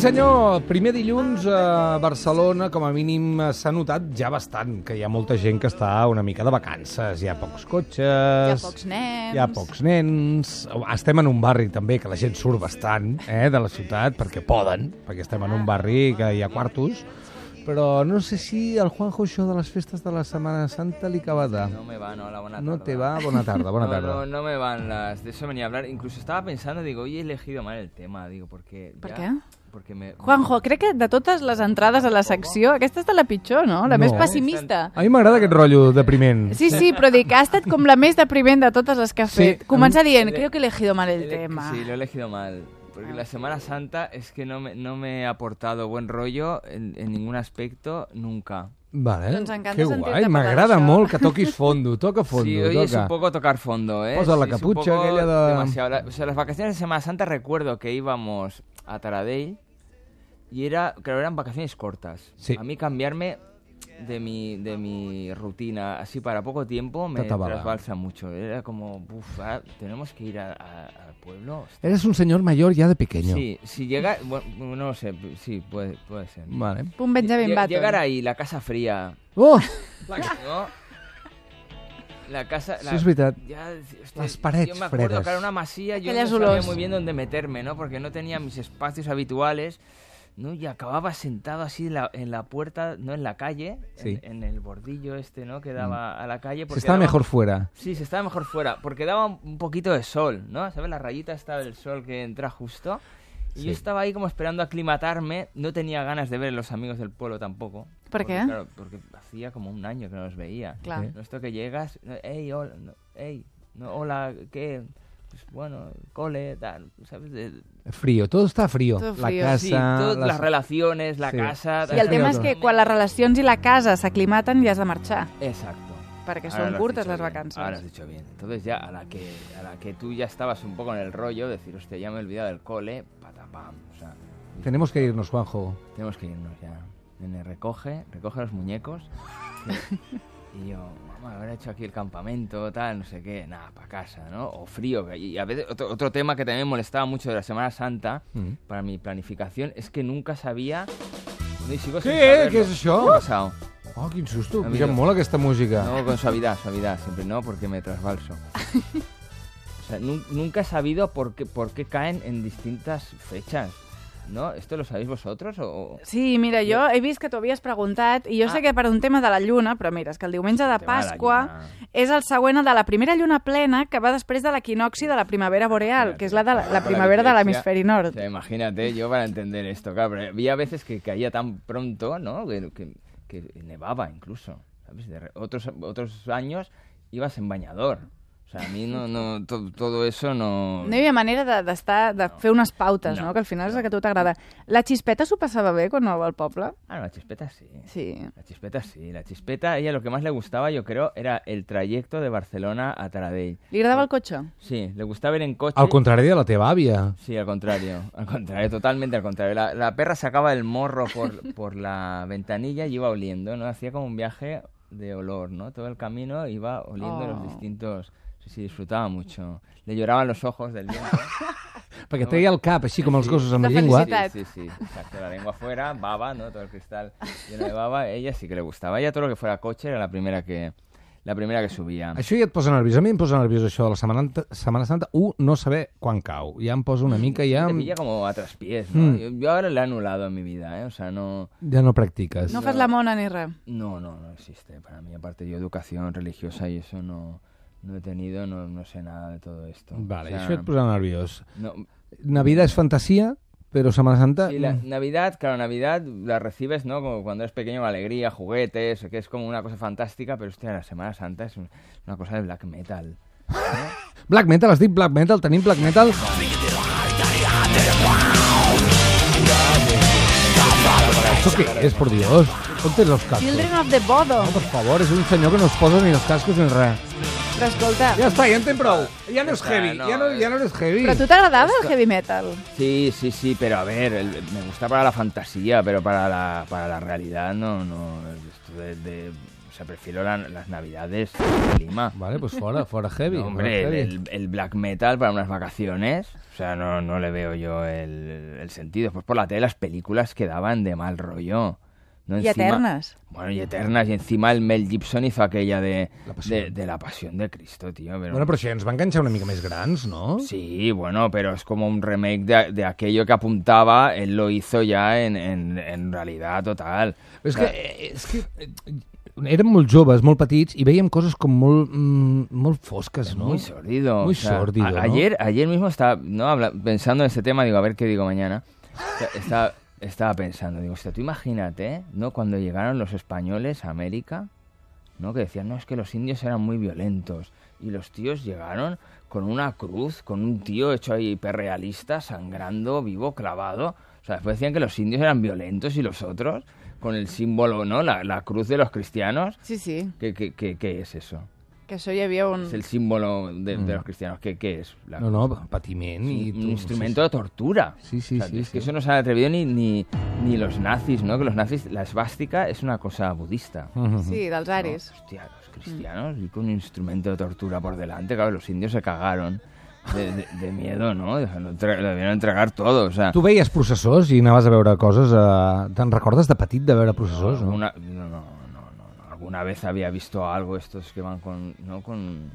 senyor, primer dilluns a Barcelona, com a mínim eh, s'ha notat ja bastant, que hi ha molta gent que està una mica de vacances, hi ha pocs cotxes... Hi Hi ha pocs nens. Hi ha pocs nens. Estem en un barri també que la gent surt bastant eh, de la ciutat, perquè poden, perquè estem en un barri que hi ha quartos, però no sé si el Juanjo això de les festes de la Setmana Santa li acaba de... No me va, no, la buena No tarda. te va? Bona tarda, bona No, tarda. No, no me van las... De eso venía a hablar. Incluso estaba pensando, digo, hoy he elegido mal el tema, digo, porque... Per ya- què? Porque me... Juanjo, crec que de totes les entrades a la secció, aquesta és de la pitjor, no? La No. més pessimista. A mi m'agrada aquest rotllo depriment. Sí, sí, però dic, ha estat com la més depriment de totes les que ha Sí. fet. Comença dient, Ele- creo que he elegido mal el Ele- tema. Ah, Sí, lo he elegido mal. Porque la Semana Santa es que no me, no me ha aportado buen rollo en, en ningún aspecto nunca. Vale. Doncs encanta que sentir-te guai, parlar m'agrada d'això. molt que toquis fondo, toca fondo, sí, hoy toca. es un poco tocar fondo, ¿eh? Posa la Sí, es un capucha, poco aquella de- demasiado. La- O sea, las vacaciones de Semana Santa recuerdo que íbamos a Taradell y era, claro, eran vacaciones cortas. Sí. A mí cambiarme de mi, de mi rutina así para poco tiempo me Te atabala. trasbalsa mucho. Era como, uff, tenemos que ir a- a- al pueblo. Eres un señor mayor ya de pequeño. Sí, si llega, bueno, no lo sé, sí, puede, puede ser. Vale. Punt Benjamin Lle- Button. llegar ahí, la casa fría, Oh, ¿no? La casa... Sí, La, és veritat. Ya, hostia, Las paredes Yo me acuerdo, fredas. claro, una masía, yo no Aquellas sabía olores. muy bien dónde meterme, ¿no? Porque no tenía mis espacios habituales, ¿no? Y acababa sentado así en la, en la puerta, no en la calle, Sí. Mm. en, en el bordillo este, ¿no? Que daba a la calle. se porque está daba- mejor fuera. Sí, se estaba mejor fuera, porque daba un- un poquito de sol, ¿no? ¿Sabes? La rayita estaba del sol que entra justo. Y Sí. yo estaba ahí como esperando aclimatarme. No tenía ganas de ver a los amigos del pueblo tampoco. ¿Por Porque, qué? Claro, porque hacía como un año que no los veía. Clar. Sí. No, esto que llegas, no, hey, hola, no, hey, no, hola, ¿qué? Pues bueno, cole, tal, ¿sabes? De- Frío, todo está frío. Todo la frío. casa, sí, todas las... las- relaciones, la Sí. casa... Sí, I el Sí, tema és no. que quan les relacions i la casa s'aclimaten ja has de marxar, Exacto. perquè Ahora són lo has curtes dicho les bien, Ahora has vacances. dicho bien. Entonces ya a la que a la que tú ya estabas un poco en el rollo, decir, hostia, ya me he olvidado del cole, patapam. O sea, Tenemos que irnos, Juanjo. tenemos que irnos ya. Nene, recoge, recoge los muñecos. y yo, mamá, habrá hecho aquí el campamento, tal, no sé qué, nada, para casa, ¿no? O frío. que- Y a veces otro, otro tema que también me molestaba mucho de la Semana Santa Mm. para mi planificación es que nunca sabía... No, y sigo sin ¿Qué? ¿Qué saberlo. es eso? ¿Qué ha pasado? Oh, quin susto. Amigo. Amigo. mola aquesta música. No, con suavidad, suavidad, siempre no, porque me trasbalso. O sea, nun- nunca he sabido por qué, por qué caen en distintas fechas. ¿No? ¿Esto lo sabéis vosotros? O... o- Sí, mira, jo he vist que t'ho havies preguntat i jo sé Ah. que per un tema de la lluna, però mira, és que el diumenge de Te va la Pasqua lluna. és el següent a de la primera lluna plena que va després de l'equinoxi de la primavera boreal, que és la de la, la primavera de l'hemisferi O nord. sea, imagínate, yo para entender esto, claro, pero había veces que caía tan pronto, ¿no? Que, que- que nevaba incluso, ¿sabes? De re- otros, otros años ibas en bañador. O sea, a mí no, no, to- todo eso no... No hi havia manera de, d'estar, de fer unes pautes, No. no? Que al final és el que a tu t'agrada. La xispeta s'ho passava bé quan anava al poble? Ah, no, la chispeta sí. Sí. La chispeta sí, la chispeta, ella lo que más le gustaba, yo creo, era el trayecto de Barcelona a Taradell. Li agradava el cotxe? Sí, le gustaba ir en coche. Al contrari de la teva àvia. Sí, al contrario, al contrario, totalmente al contrario. La, la perra sacaba el morro por, por la ventanilla y iba oliendo, ¿no? Hacía como un viaje de olor, ¿no? Todo el camino iba oliendo los Oh. distintos... Sí, sí, disfrutaba mucho. Le lloraban los ojos del viento. Perquè treia el cap, així com els gossos amb la De llengua. felicitat. Sí, sí, sí. Exacto, la lengua afuera, baba, ¿no? Todo el cristal lleno de baba. Ella sí que le gustaba. Ella todo lo que fuera coche era la primera que, la primera que subía. Això ja et posa nerviós. A mi em posa nerviós això de la Setmana, Anta- Setmana Santa. Un, no saber quan cau. Ja em posa una mica, ja... Te pilla como a traspiés, ¿no? Yo, yo ahora le he anulado en mi vida, ¿eh? O sea, no... Ja no practiques. No fas la mona ni res. No, no, no existe. Para mí, aparte, yo educación religiosa y eso no, no he tenido, no, no sé nada de todo esto. Vale, pues, O sea, això et posa nerviós. no, Navidad és fantasia, però Setmana Santa... Sí, la Navidad, claro, Navidad la recibes, ¿no? Como cuando eres pequeño, con alegría, juguetes, que es como una cosa fantástica, pero hostia, la Semana Santa es un- una cosa de black metal. Black metal, has dit black metal, tenim black metal. Això què és, por Dios? On tens els cascos? Children of the Bodo. No, per favor, és un senyor que no es posa ni els cascos ni res. Però escolta, Ja està, ja en tens prou. Ja no és està, heavy, no, eh. ja no, ja no és heavy. però a tu t'agradava el heavy metal? Sí, sí, sí, pero a ver, el- me gusta para la fantasía, pero para la, para la realidad no, no, esto de, de O sea, prefiero la- las navidades de Lima. Vale, pues fuera, fuera heavy. No, fuera heavy. hombre, el, el black metal para unas vacaciones, o sea, no, no le veo yo el, el sentido. Después por la tele las películas quedaban de mal rollo. ¿no? Y Encima- eternas. Bueno, y eternas. Y encima el Mel Gibson hizo aquella de La de- Pasión. de la pasión de Cristo, tío. pero- Bueno, però això ens va enganxar una mica més grans, no? Sí, bueno, pero es como un remake de, de aquello que apuntaba, él lo hizo ya en, en, en realidad total. És que, eh, és que eh, érem molt joves, molt petits, i veiem coses com molt, mm, molt fosques, no? Muy sordido. Muy o sea, sordido, a- ¿no? Ayer, ayer mismo estaba ¿no? Habla- pensando en este tema, digo, a ver qué digo mañana. O sea, Estaba, estaba pensando, digo, hostia, tú imagínate, ¿eh? ¿no? Cuando llegaron los españoles a América, ¿no? Que decían, no, es que los indios eran muy violentos. Y los tíos llegaron con una cruz, con un tío hecho ahí hiperrealista, sangrando, vivo, clavado. O sea, después decían que los indios eran violentos y los otros, con el símbolo, ¿no? La, la cruz de los cristianos. Sí, sí, ¿Qué, qué, qué, qué es eso? que això hi havia un... Es el símbolo de, de los cristianos. ¿Qué, qué es? La- Mm. No, no, patiment un, i... un instrumento de tortura. Sí, sí, sí, es sí. que eso no se han atrevido ni, ni, ni los nazis, ¿no? Que los nazis, la esvástica es una cosa Ah. budista. ¿no? Sí, dels aris. Hostia, los cristianos y con un instrumento de tortura por delante. Claro, los indios se cagaron de, de- de miedo, ¿no? Lo tra- lo debieron entregar todo, o sea... Tu veies processors i anaves a veure coses... Eh... Te'n recordes de petit de veure processors, no? Alguna, no, no, no, no, no. Alguna vez había visto algo estos que van con, no con.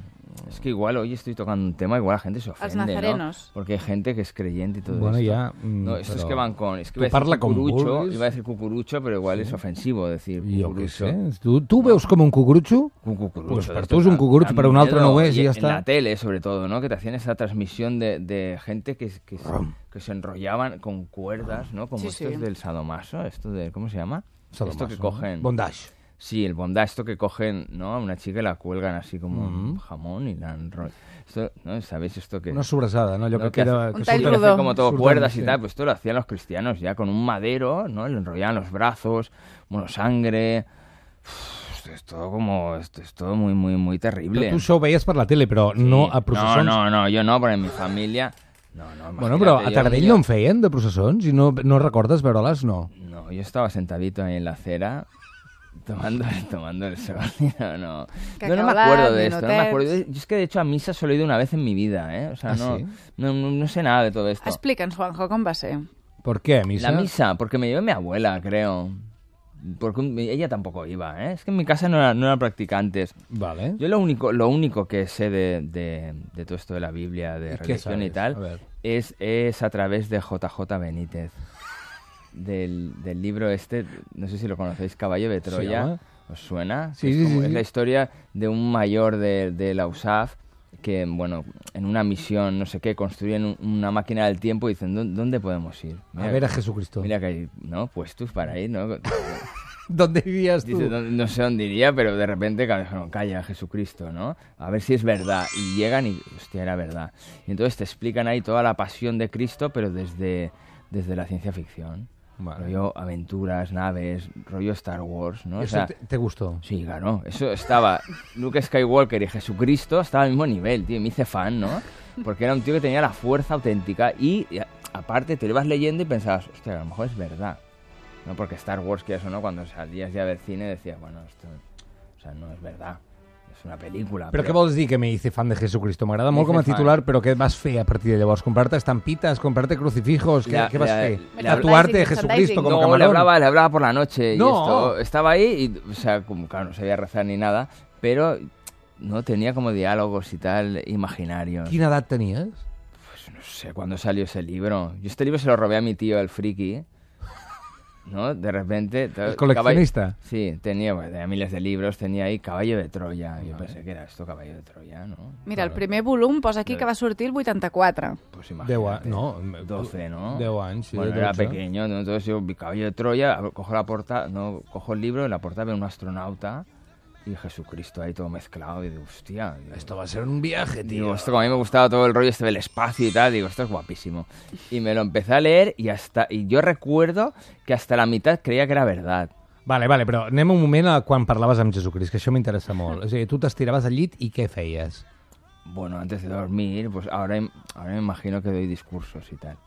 Es que igual hoy estoy tocando un tema, igual la gente se ofende, ¿no? nazarenos. Porque hay gente que es creyente y todo Bueno, esto. ya, mm, no, estos pero- que van con. Es Tú que iba a decir parla con cucurucho, vulguis. iba a decir cucurucho, pero igual es ofensivo decir Jo què cucurucho. sé. Tu, tu veus com un cucurutxo? Un cucurucho. Pues para de tú es estos, un cucurucho, dan para un otro no miedo. es, y ya En está. la tele, sobre todo, ¿no? Que te hacían esa transmisión de, de gente que, que, se, que se enrollaban con cuerdas, ¿no? Como Sí, estos sí. del sadomaso, esto de... ¿Cómo se llama? Esto que cogen... Bondage. Sí, el bondage, esto que cogen, ¿no? A una chica y la cuelgan así como un jamón y la enrollan. Esto, ¿no? ¿Sabéis esto que...? Una sobrassada, no? Allò que, ¿no? queda... hace- Que Un tall surten- rodó. hace como todo surten, cuerdas sí. y tal, pues esto lo hacían los cristianos ya con un madero, ¿no? Le enrollaban los brazos, bueno, sangre... Uf, esto es todo como... Esto es todo muy, muy, muy terrible. Però tu això ho veies per la tele, però no Sí. a processons. No, no, no, yo no, porque en mi familia... No, no, Bueno, però imagínate, a yo- Taradell yo- no en feien, de processons? I no, no recordes veure-les? No. No, yo estaba sentadito ahí en la acera tomando, tomando el sol. No, no. Que No, no me acababan, acuerdo de esto. No me minoteps. acuerdo. Yo es que de hecho a misa solo he ido una vez en mi vida, ¿eh? O sea, ¿Ah, no, sí? no, no- no sé nada de todo esto. Explica'ns, Juanjo, com va ser. Per què, missa? La misa, porque me llevó mi abuela, creo. Porque un- ella tampoco iba, ¿eh? Es que en mi casa no era, no eran practicantes. Vale. Yo lo único, lo único que sé de, de- de todo esto de la Biblia, de ¿Y qué religión y sabes? A tal, ver. es, es a través de JJ Benítez. Del, del libro este, no sé si lo conocéis, Caballo de llama? Troya. ¿Os suena? Sí, es, sí, sí, es sí. la historia de un mayor de, de la USAF que, bueno, en una misión, no sé qué, construyen un- una máquina del tiempo y dicen, "¿Dó- ¿dónde podemos ir? A ver a Jesucristo. Mira que hay, ¿no? Puestos para ir, ¿no? ¿Dónde vivías tú? Dice, no, no sé dónde iría, pero de repente ca- dijeron, calla, Jesucristo, ¿no? A ver si es verdad. Y llegan y, hostia, era verdad. Y entonces te explican ahí toda la pasión de Cristo, pero desde, desde la ciencia ficción. Vale. Rollo aventuras, naves, rollo Star Wars, ¿no? O Eso sea, Ah, te, te gustó. Sí, claro. Eso estaba. Luke Skywalker y Jesucristo estaba al mismo nivel, tío. y Me hice fan, ¿no? Porque era un tío que tenía la fuerza auténtica. Y, y a- aparte te lo ibas leyendo y pensabas, hostia, a lo mejor es verdad. ¿No? Porque Star Wars, que eso no, cuando salías ya del cine decías, bueno, esto. O sea, no es verdad. Es una película. Però què vols dir que me hice fan de Jesucristo? M'agrada molt com a hice fan. titular, però què vas fer a partir de llavors? Comprar-te estampites, comprar-te crucifijos, què, La- què vas la- fer? la- Tatuar-te de Merchandising, Jesucristo com no, a le camarón? hablaba, le hablaba por la noche No. y esto. Estaba ahí y, o sea, como, claro, no sabía rezar ni nada, pero no tenía como diálogos y tal imaginarios. Quina edat tenies? No sé cuándo salió ese libro. Yo este libro se lo robé a mi tío, el friki. ¿No? De repente... ta- ¿El coleccionista? caballo- Sí, tenía, bueno, tenía miles de libros, tenía ahí Caballo de Troya. Yo pensé que era esto, Caballo de Troya, ¿no? Mira, el primer volum posa aquí que va sortir el 84. Pues Deu imagínate. anys, no. 12, ¿no? 10 anys, sí, Bueno, era 12. pequeño, ¿no? entonces yo, Caballo de Troya, abro- cojo la porta, no, cojo el libro, en la portada veo un astronauta y Jesucristo ahí todo mezclado y digo, hostia. digo, Esto va a ser un viaje, Digo, tío. esto como a mí me gustaba todo el rollo este del espacio y tal, digo, esto es guapísimo. Y me lo empecé a leer y hasta y yo recuerdo que hasta la mitad creía que era verdad. Vale, vale, però anem un moment a quan parlaves amb Jesucrist, que això m'interessa molt. O sigui, tu t'estiraves al llit i què feies? Bueno, antes de dormir, pues ahora, im- ahora me imagino que doy discursos y tal.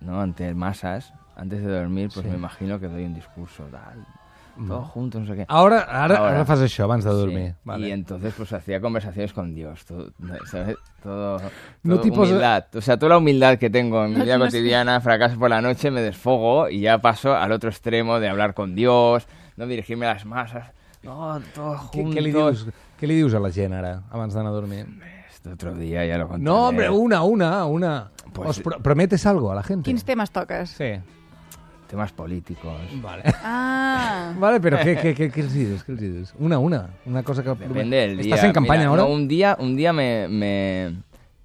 ¿No? Ante masas, antes de dormir, pues me imagino que doy un discurso tal. todos juntos, no sé qué. Ahora, ara, Ahora. ara fas això abans de Sí, dormir. Vale. Y entonces pues hacía conversaciones con Dios, todo, ¿sabes? Todo, No todo tipo- humildad, o sea, toda la humildad que tengo en mi No, vida no sé. cotidiana, fracaso por la noche, me desfogo y ya paso al otro extremo de hablar con Dios, no dirigirme a las masas, no, todos Què, juntos. què, li dius, què li dius a la gent ara, abans d'anar a dormir? Este otro día ya lo conté. No, hombre, una, una, una. Pues- Os pro- prometes algo a la gente. Quins temes toques? Sí. Temas políticos. Vale. Ah, Vale, però què, què, què, què els dius? Què els dius? Una, una. Una cosa que... Depende del día. Estàs en campanya Mira, ara? no, un día, un día me, me,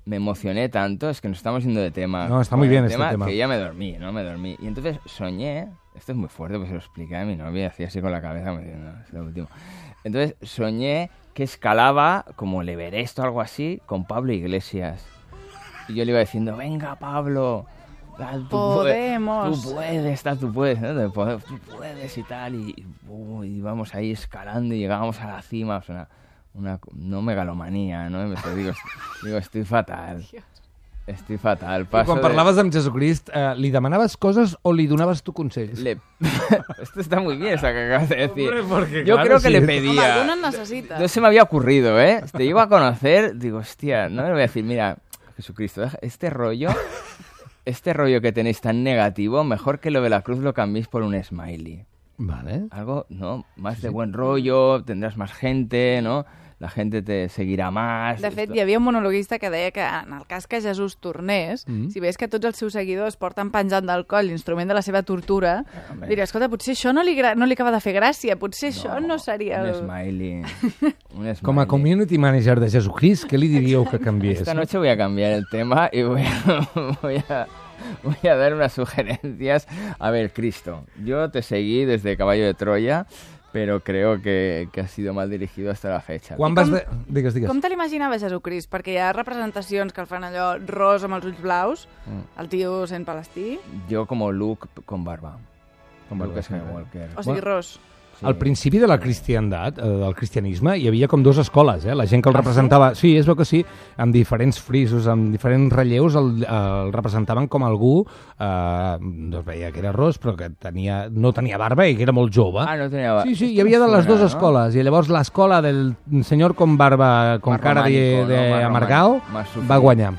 me emocioné tanto, es que nos estamos yendo de tema. No, está con muy el bien este tema. Que ya me dormí, ¿no? Me dormí. Y entonces soñé, esto es muy fuerte, pues se lo expliqué a mi novia, hacía así con la cabeza, como diciendo, "No, es lo último. Entonces soñé que escalaba como el Everest o algo así con Pablo Iglesias. Y yo le iba diciendo, venga Pablo, tal, tú Podemos. puedes, Tú puedes, tal, tú puedes, ¿no? De poder, tú puedes y tal. Y, y, uh, y íbamos ahí escalando y llegábamos a la cima. O sea, una, una- no megalomanía, ¿no? Me te digo, digo, estoy fatal. Estoy fatal. Quan Paso de- parlaves amb Jesucrist, eh, li demanaves coses o li donaves tu consells? le- Esto está muy bien, esa que acabas de decir. Hombre, porque, Yo claro, creo que sí. le home, pedía. alguna en necessita. No se me había ocurrido, ¿eh? Te iba a conocer, digo, hostia, no le voy a decir, mira, Jesucristo, deja- este rollo, este rollo que tenéis tan negativo, mejor que lo de la cruz lo cambiéis por un smiley. Vale. Algo, ¿no? Más de buen rollo, tendrás más gente, ¿no? La gente te seguirá más. De fet, Esto- hi havia un monologuista que deia que en el cas que Jesús tornés, mm. si veus que tots els seus seguidors porten penjant del coll l'instrument de la seva tortura, Home. diria, escolta, potser això no li, gra- no li acaba de fer gràcia, potser Ah, no, això no seria... Un El... smiley. Un Com a smiley. community manager de Jesucrist, què li diríeu que canviés? Esta noche voy a cambiar el tema y voy a, voy a- voy a dar unas sugerencias. A ver, Cristo, yo te seguí desde Caballo de Troya, pero creo que, que has sido mal dirigido hasta la fecha. Quan I vas com- de... Digues, digues. Com te l'imaginava Jesucrist? Perquè hi ha representacions que el fan allò ros amb els ulls blaus, el tio sent palestí, Mm. Yo como Luke con barba. Como barba, Luke siempre. Skywalker. o sigui, ros. Sí. Al principi de la cristiandat, eh, del cristianisme, hi havia com dues escoles, eh? La gent que Ah, el representava... Sí, és veu que sí, amb diferents frisos, amb diferents relleus, el, eh, el representaven com algú... Eh, doncs veia que era ros, però que tenia, no tenia barba i que era molt jove. Ah, no tenía barba. Sí, sí, Esto hi havia me de les suena, dues ¿no? escoles, i llavors l'escola del senyor con barba, con Más cara de, romànico, de no? Más amargao, romànic, más sufrido. va guanyar.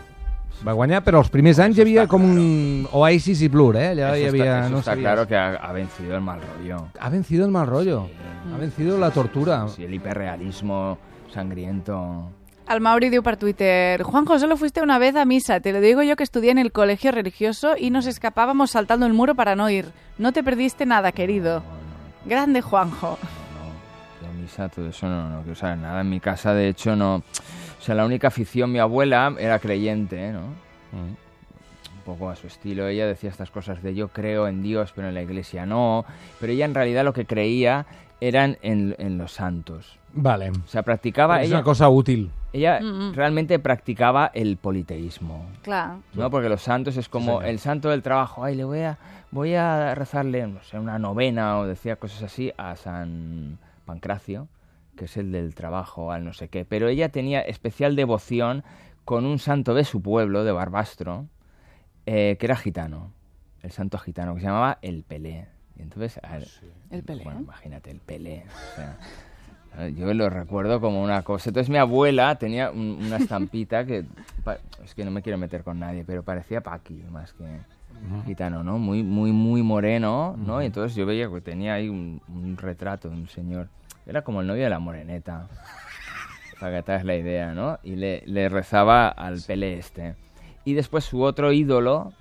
Va guanyar, però els primers anys hi havia està com un Oasis i Blur, eh? Allà Eso hi havia... está, eso no está sabies. claro que ha, ha vencido el mal rollo. Ha vencido el mal rollo. Ha vencido la tortura. Sí, el hiperrealismo sangriento. El Mauri diu per Twitter, Juanjo, solo fuiste una vez a misa, te lo digo yo que estudié en el colegio religioso y nos escapábamos saltando el muro para no ir. No te perdiste nada, querido. Grande Juanjo. no, yo misa, todo eso no, no quiero saber nada. En mi casa, de hecho, no. O sea, la única afición, mi abuela era creyente, ¿eh? ¿no? Mm. Un poco a su estilo. Ella decía estas cosas de yo creo en Dios, pero en la iglesia no. Pero ella en realidad lo que creía eran en, en los santos. Vale. O sea, practicaba. és ella una cosa útil. ella Mm, mm. realmente practicaba el politeísmo. Clar. ¿no? Porque los santos es como señor. el santo del trabajo. Ay, le voy a, voy a rezarle, no sé, una novena o decía cosas así a San Pancracio, que es el del trabajo, al no sé qué. Pero ella tenía especial devoción con un santo de su pueblo, de Barbastro, eh, que era gitano, el santo gitano, que se llamaba el Pelé. Y entonces, a ver, El Pelé. Bueno, imagínate, el Pelé. o sea, eh, Yo lo recuerdo como una cosa. Entonces mi abuela tenía un- una estampita que... pa- Es que no me quiero meter con nadie, pero parecía Paqui más que gitano, ¿no? Muy, muy, muy moreno, ¿no? Y entonces yo veía que tenía ahí un, un retrato de un señor. Era como el novio de la moreneta. Para que te hagas la idea, ¿no? Y le, le rezaba al Pelé este. Y después su otro ídolo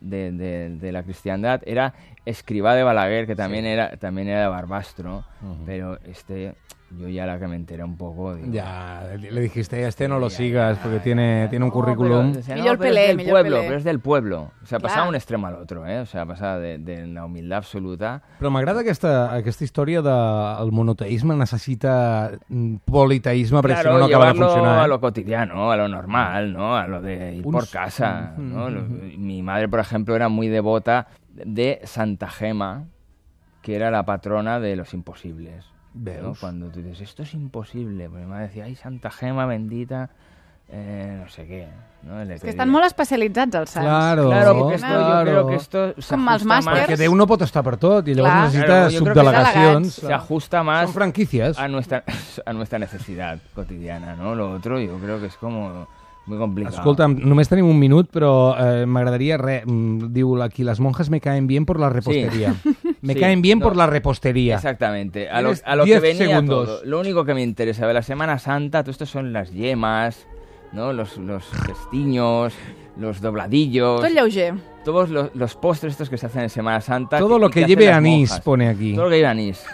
de, de- de la cristiandad era Escribá de Balaguer, que también, era, también era de Barbastro. Pero este, yo ya la que me enteré un poco. Digo, Ja, le dijiste, este no lo sigas, porque tiene, tiene un currículum. Pero, decía, Millor "No, pero Pelé, es del millor pueblo, Pelé". pero es del pueblo. O sea, Clar. pasaba un extremo al otro, ¿eh? O sea, pasaba de, de la humildad absoluta. Però m'agrada aquesta, aquesta història del monoteisme necessita mm, politeisme, perquè si no no acaba de llevarlo funcionar. a eh? lo cotidiano, a lo normal, ¿no? A lo de ir Un por s- casa, ¿no? Lo- Mi madre, por ejemplo, era muy devota de Santa Gema, que era la patrona de los imposibles. ¿no? Veus? pues Cuando tú dices, esto es imposible, porque mi madre decía, ay, Santa Gema bendita, eh, no sé què. No? És que estan molt especialitzats els sants. Claro, Claro, Sí, porque esto, yo claro. creo que esto se Com els ajusta más- màsters. Perquè Déu no pot estar per tot i llavors Clar. necessita Claro, jo crec que subdelegacions. se ajusta más Són franquicias. a nuestra, a nuestra necesidad cotidiana, ¿no? Lo otro yo creo que es como muy complicado. Escolta'm, només tenim un minut, però eh, m'agradaria res. Mm, Diu aquí, les monjas me caen bien por la repostería. Me Sí, caen bien no. por la repostería. Exactamente. A lo, Tienes a lo 10 que venía segundos. todo. Lo único que me interesa de la Semana Santa, todo esto son las yemas, ¿no? Los, los festiños, los dobladillos, Tot lleuger. todos los, los postres estos que se hacen en Semana Santa. Todo lo que hacen lleve las anís, monjas. pone aquí. Todo lo que lleve anís.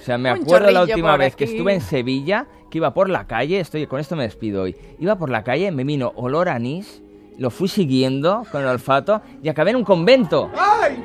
O sea, me Un acuerdo la chorrillo última por vez que aquí. estuve en Sevilla, que iba por la calle, estoy con esto me despido hoy. Iba por la calle, me vino olor a anís, lo fui siguiendo con el olfato y acabé en un convento.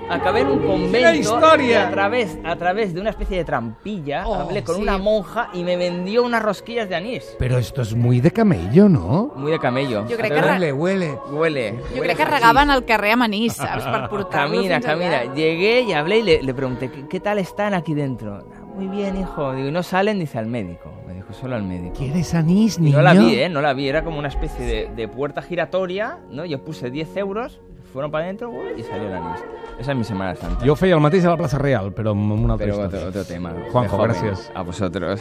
Acabé en un convento historia! y a través, a través de una especie de trampilla Oh, hablé con sí. una monja y me vendió unas rosquillas de anís. Però esto es muy de camello, ¿no? Muy de camello. Jo crec que, Pero ra- Huele, huele. Huele. jo huele crec que a regaven al carrer amb anís, saps? Per portar-lo Camina, fins allà. camina. Llegué y hablé y le, le pregunté, ¿qué, qué tal están aquí dentro? "Ah, Muy bien, hijo. Digo, "¿Y no salen? Dice, al médico. Me dijo, solo al médico. ¿Quieres anís, Y niño? no la vi, ¿eh? No la vi. Era como una especie de, de puerta giratoria, ¿no? Yo puse 10 euros, fueron para adentro uy, y salió la anís. Esa es mi Semana Santa. Jo feia el mateix a la plaça Real, però amb una altra Pero història. otro, otro tema. Juanjo, De joven. gracias. A vosotros.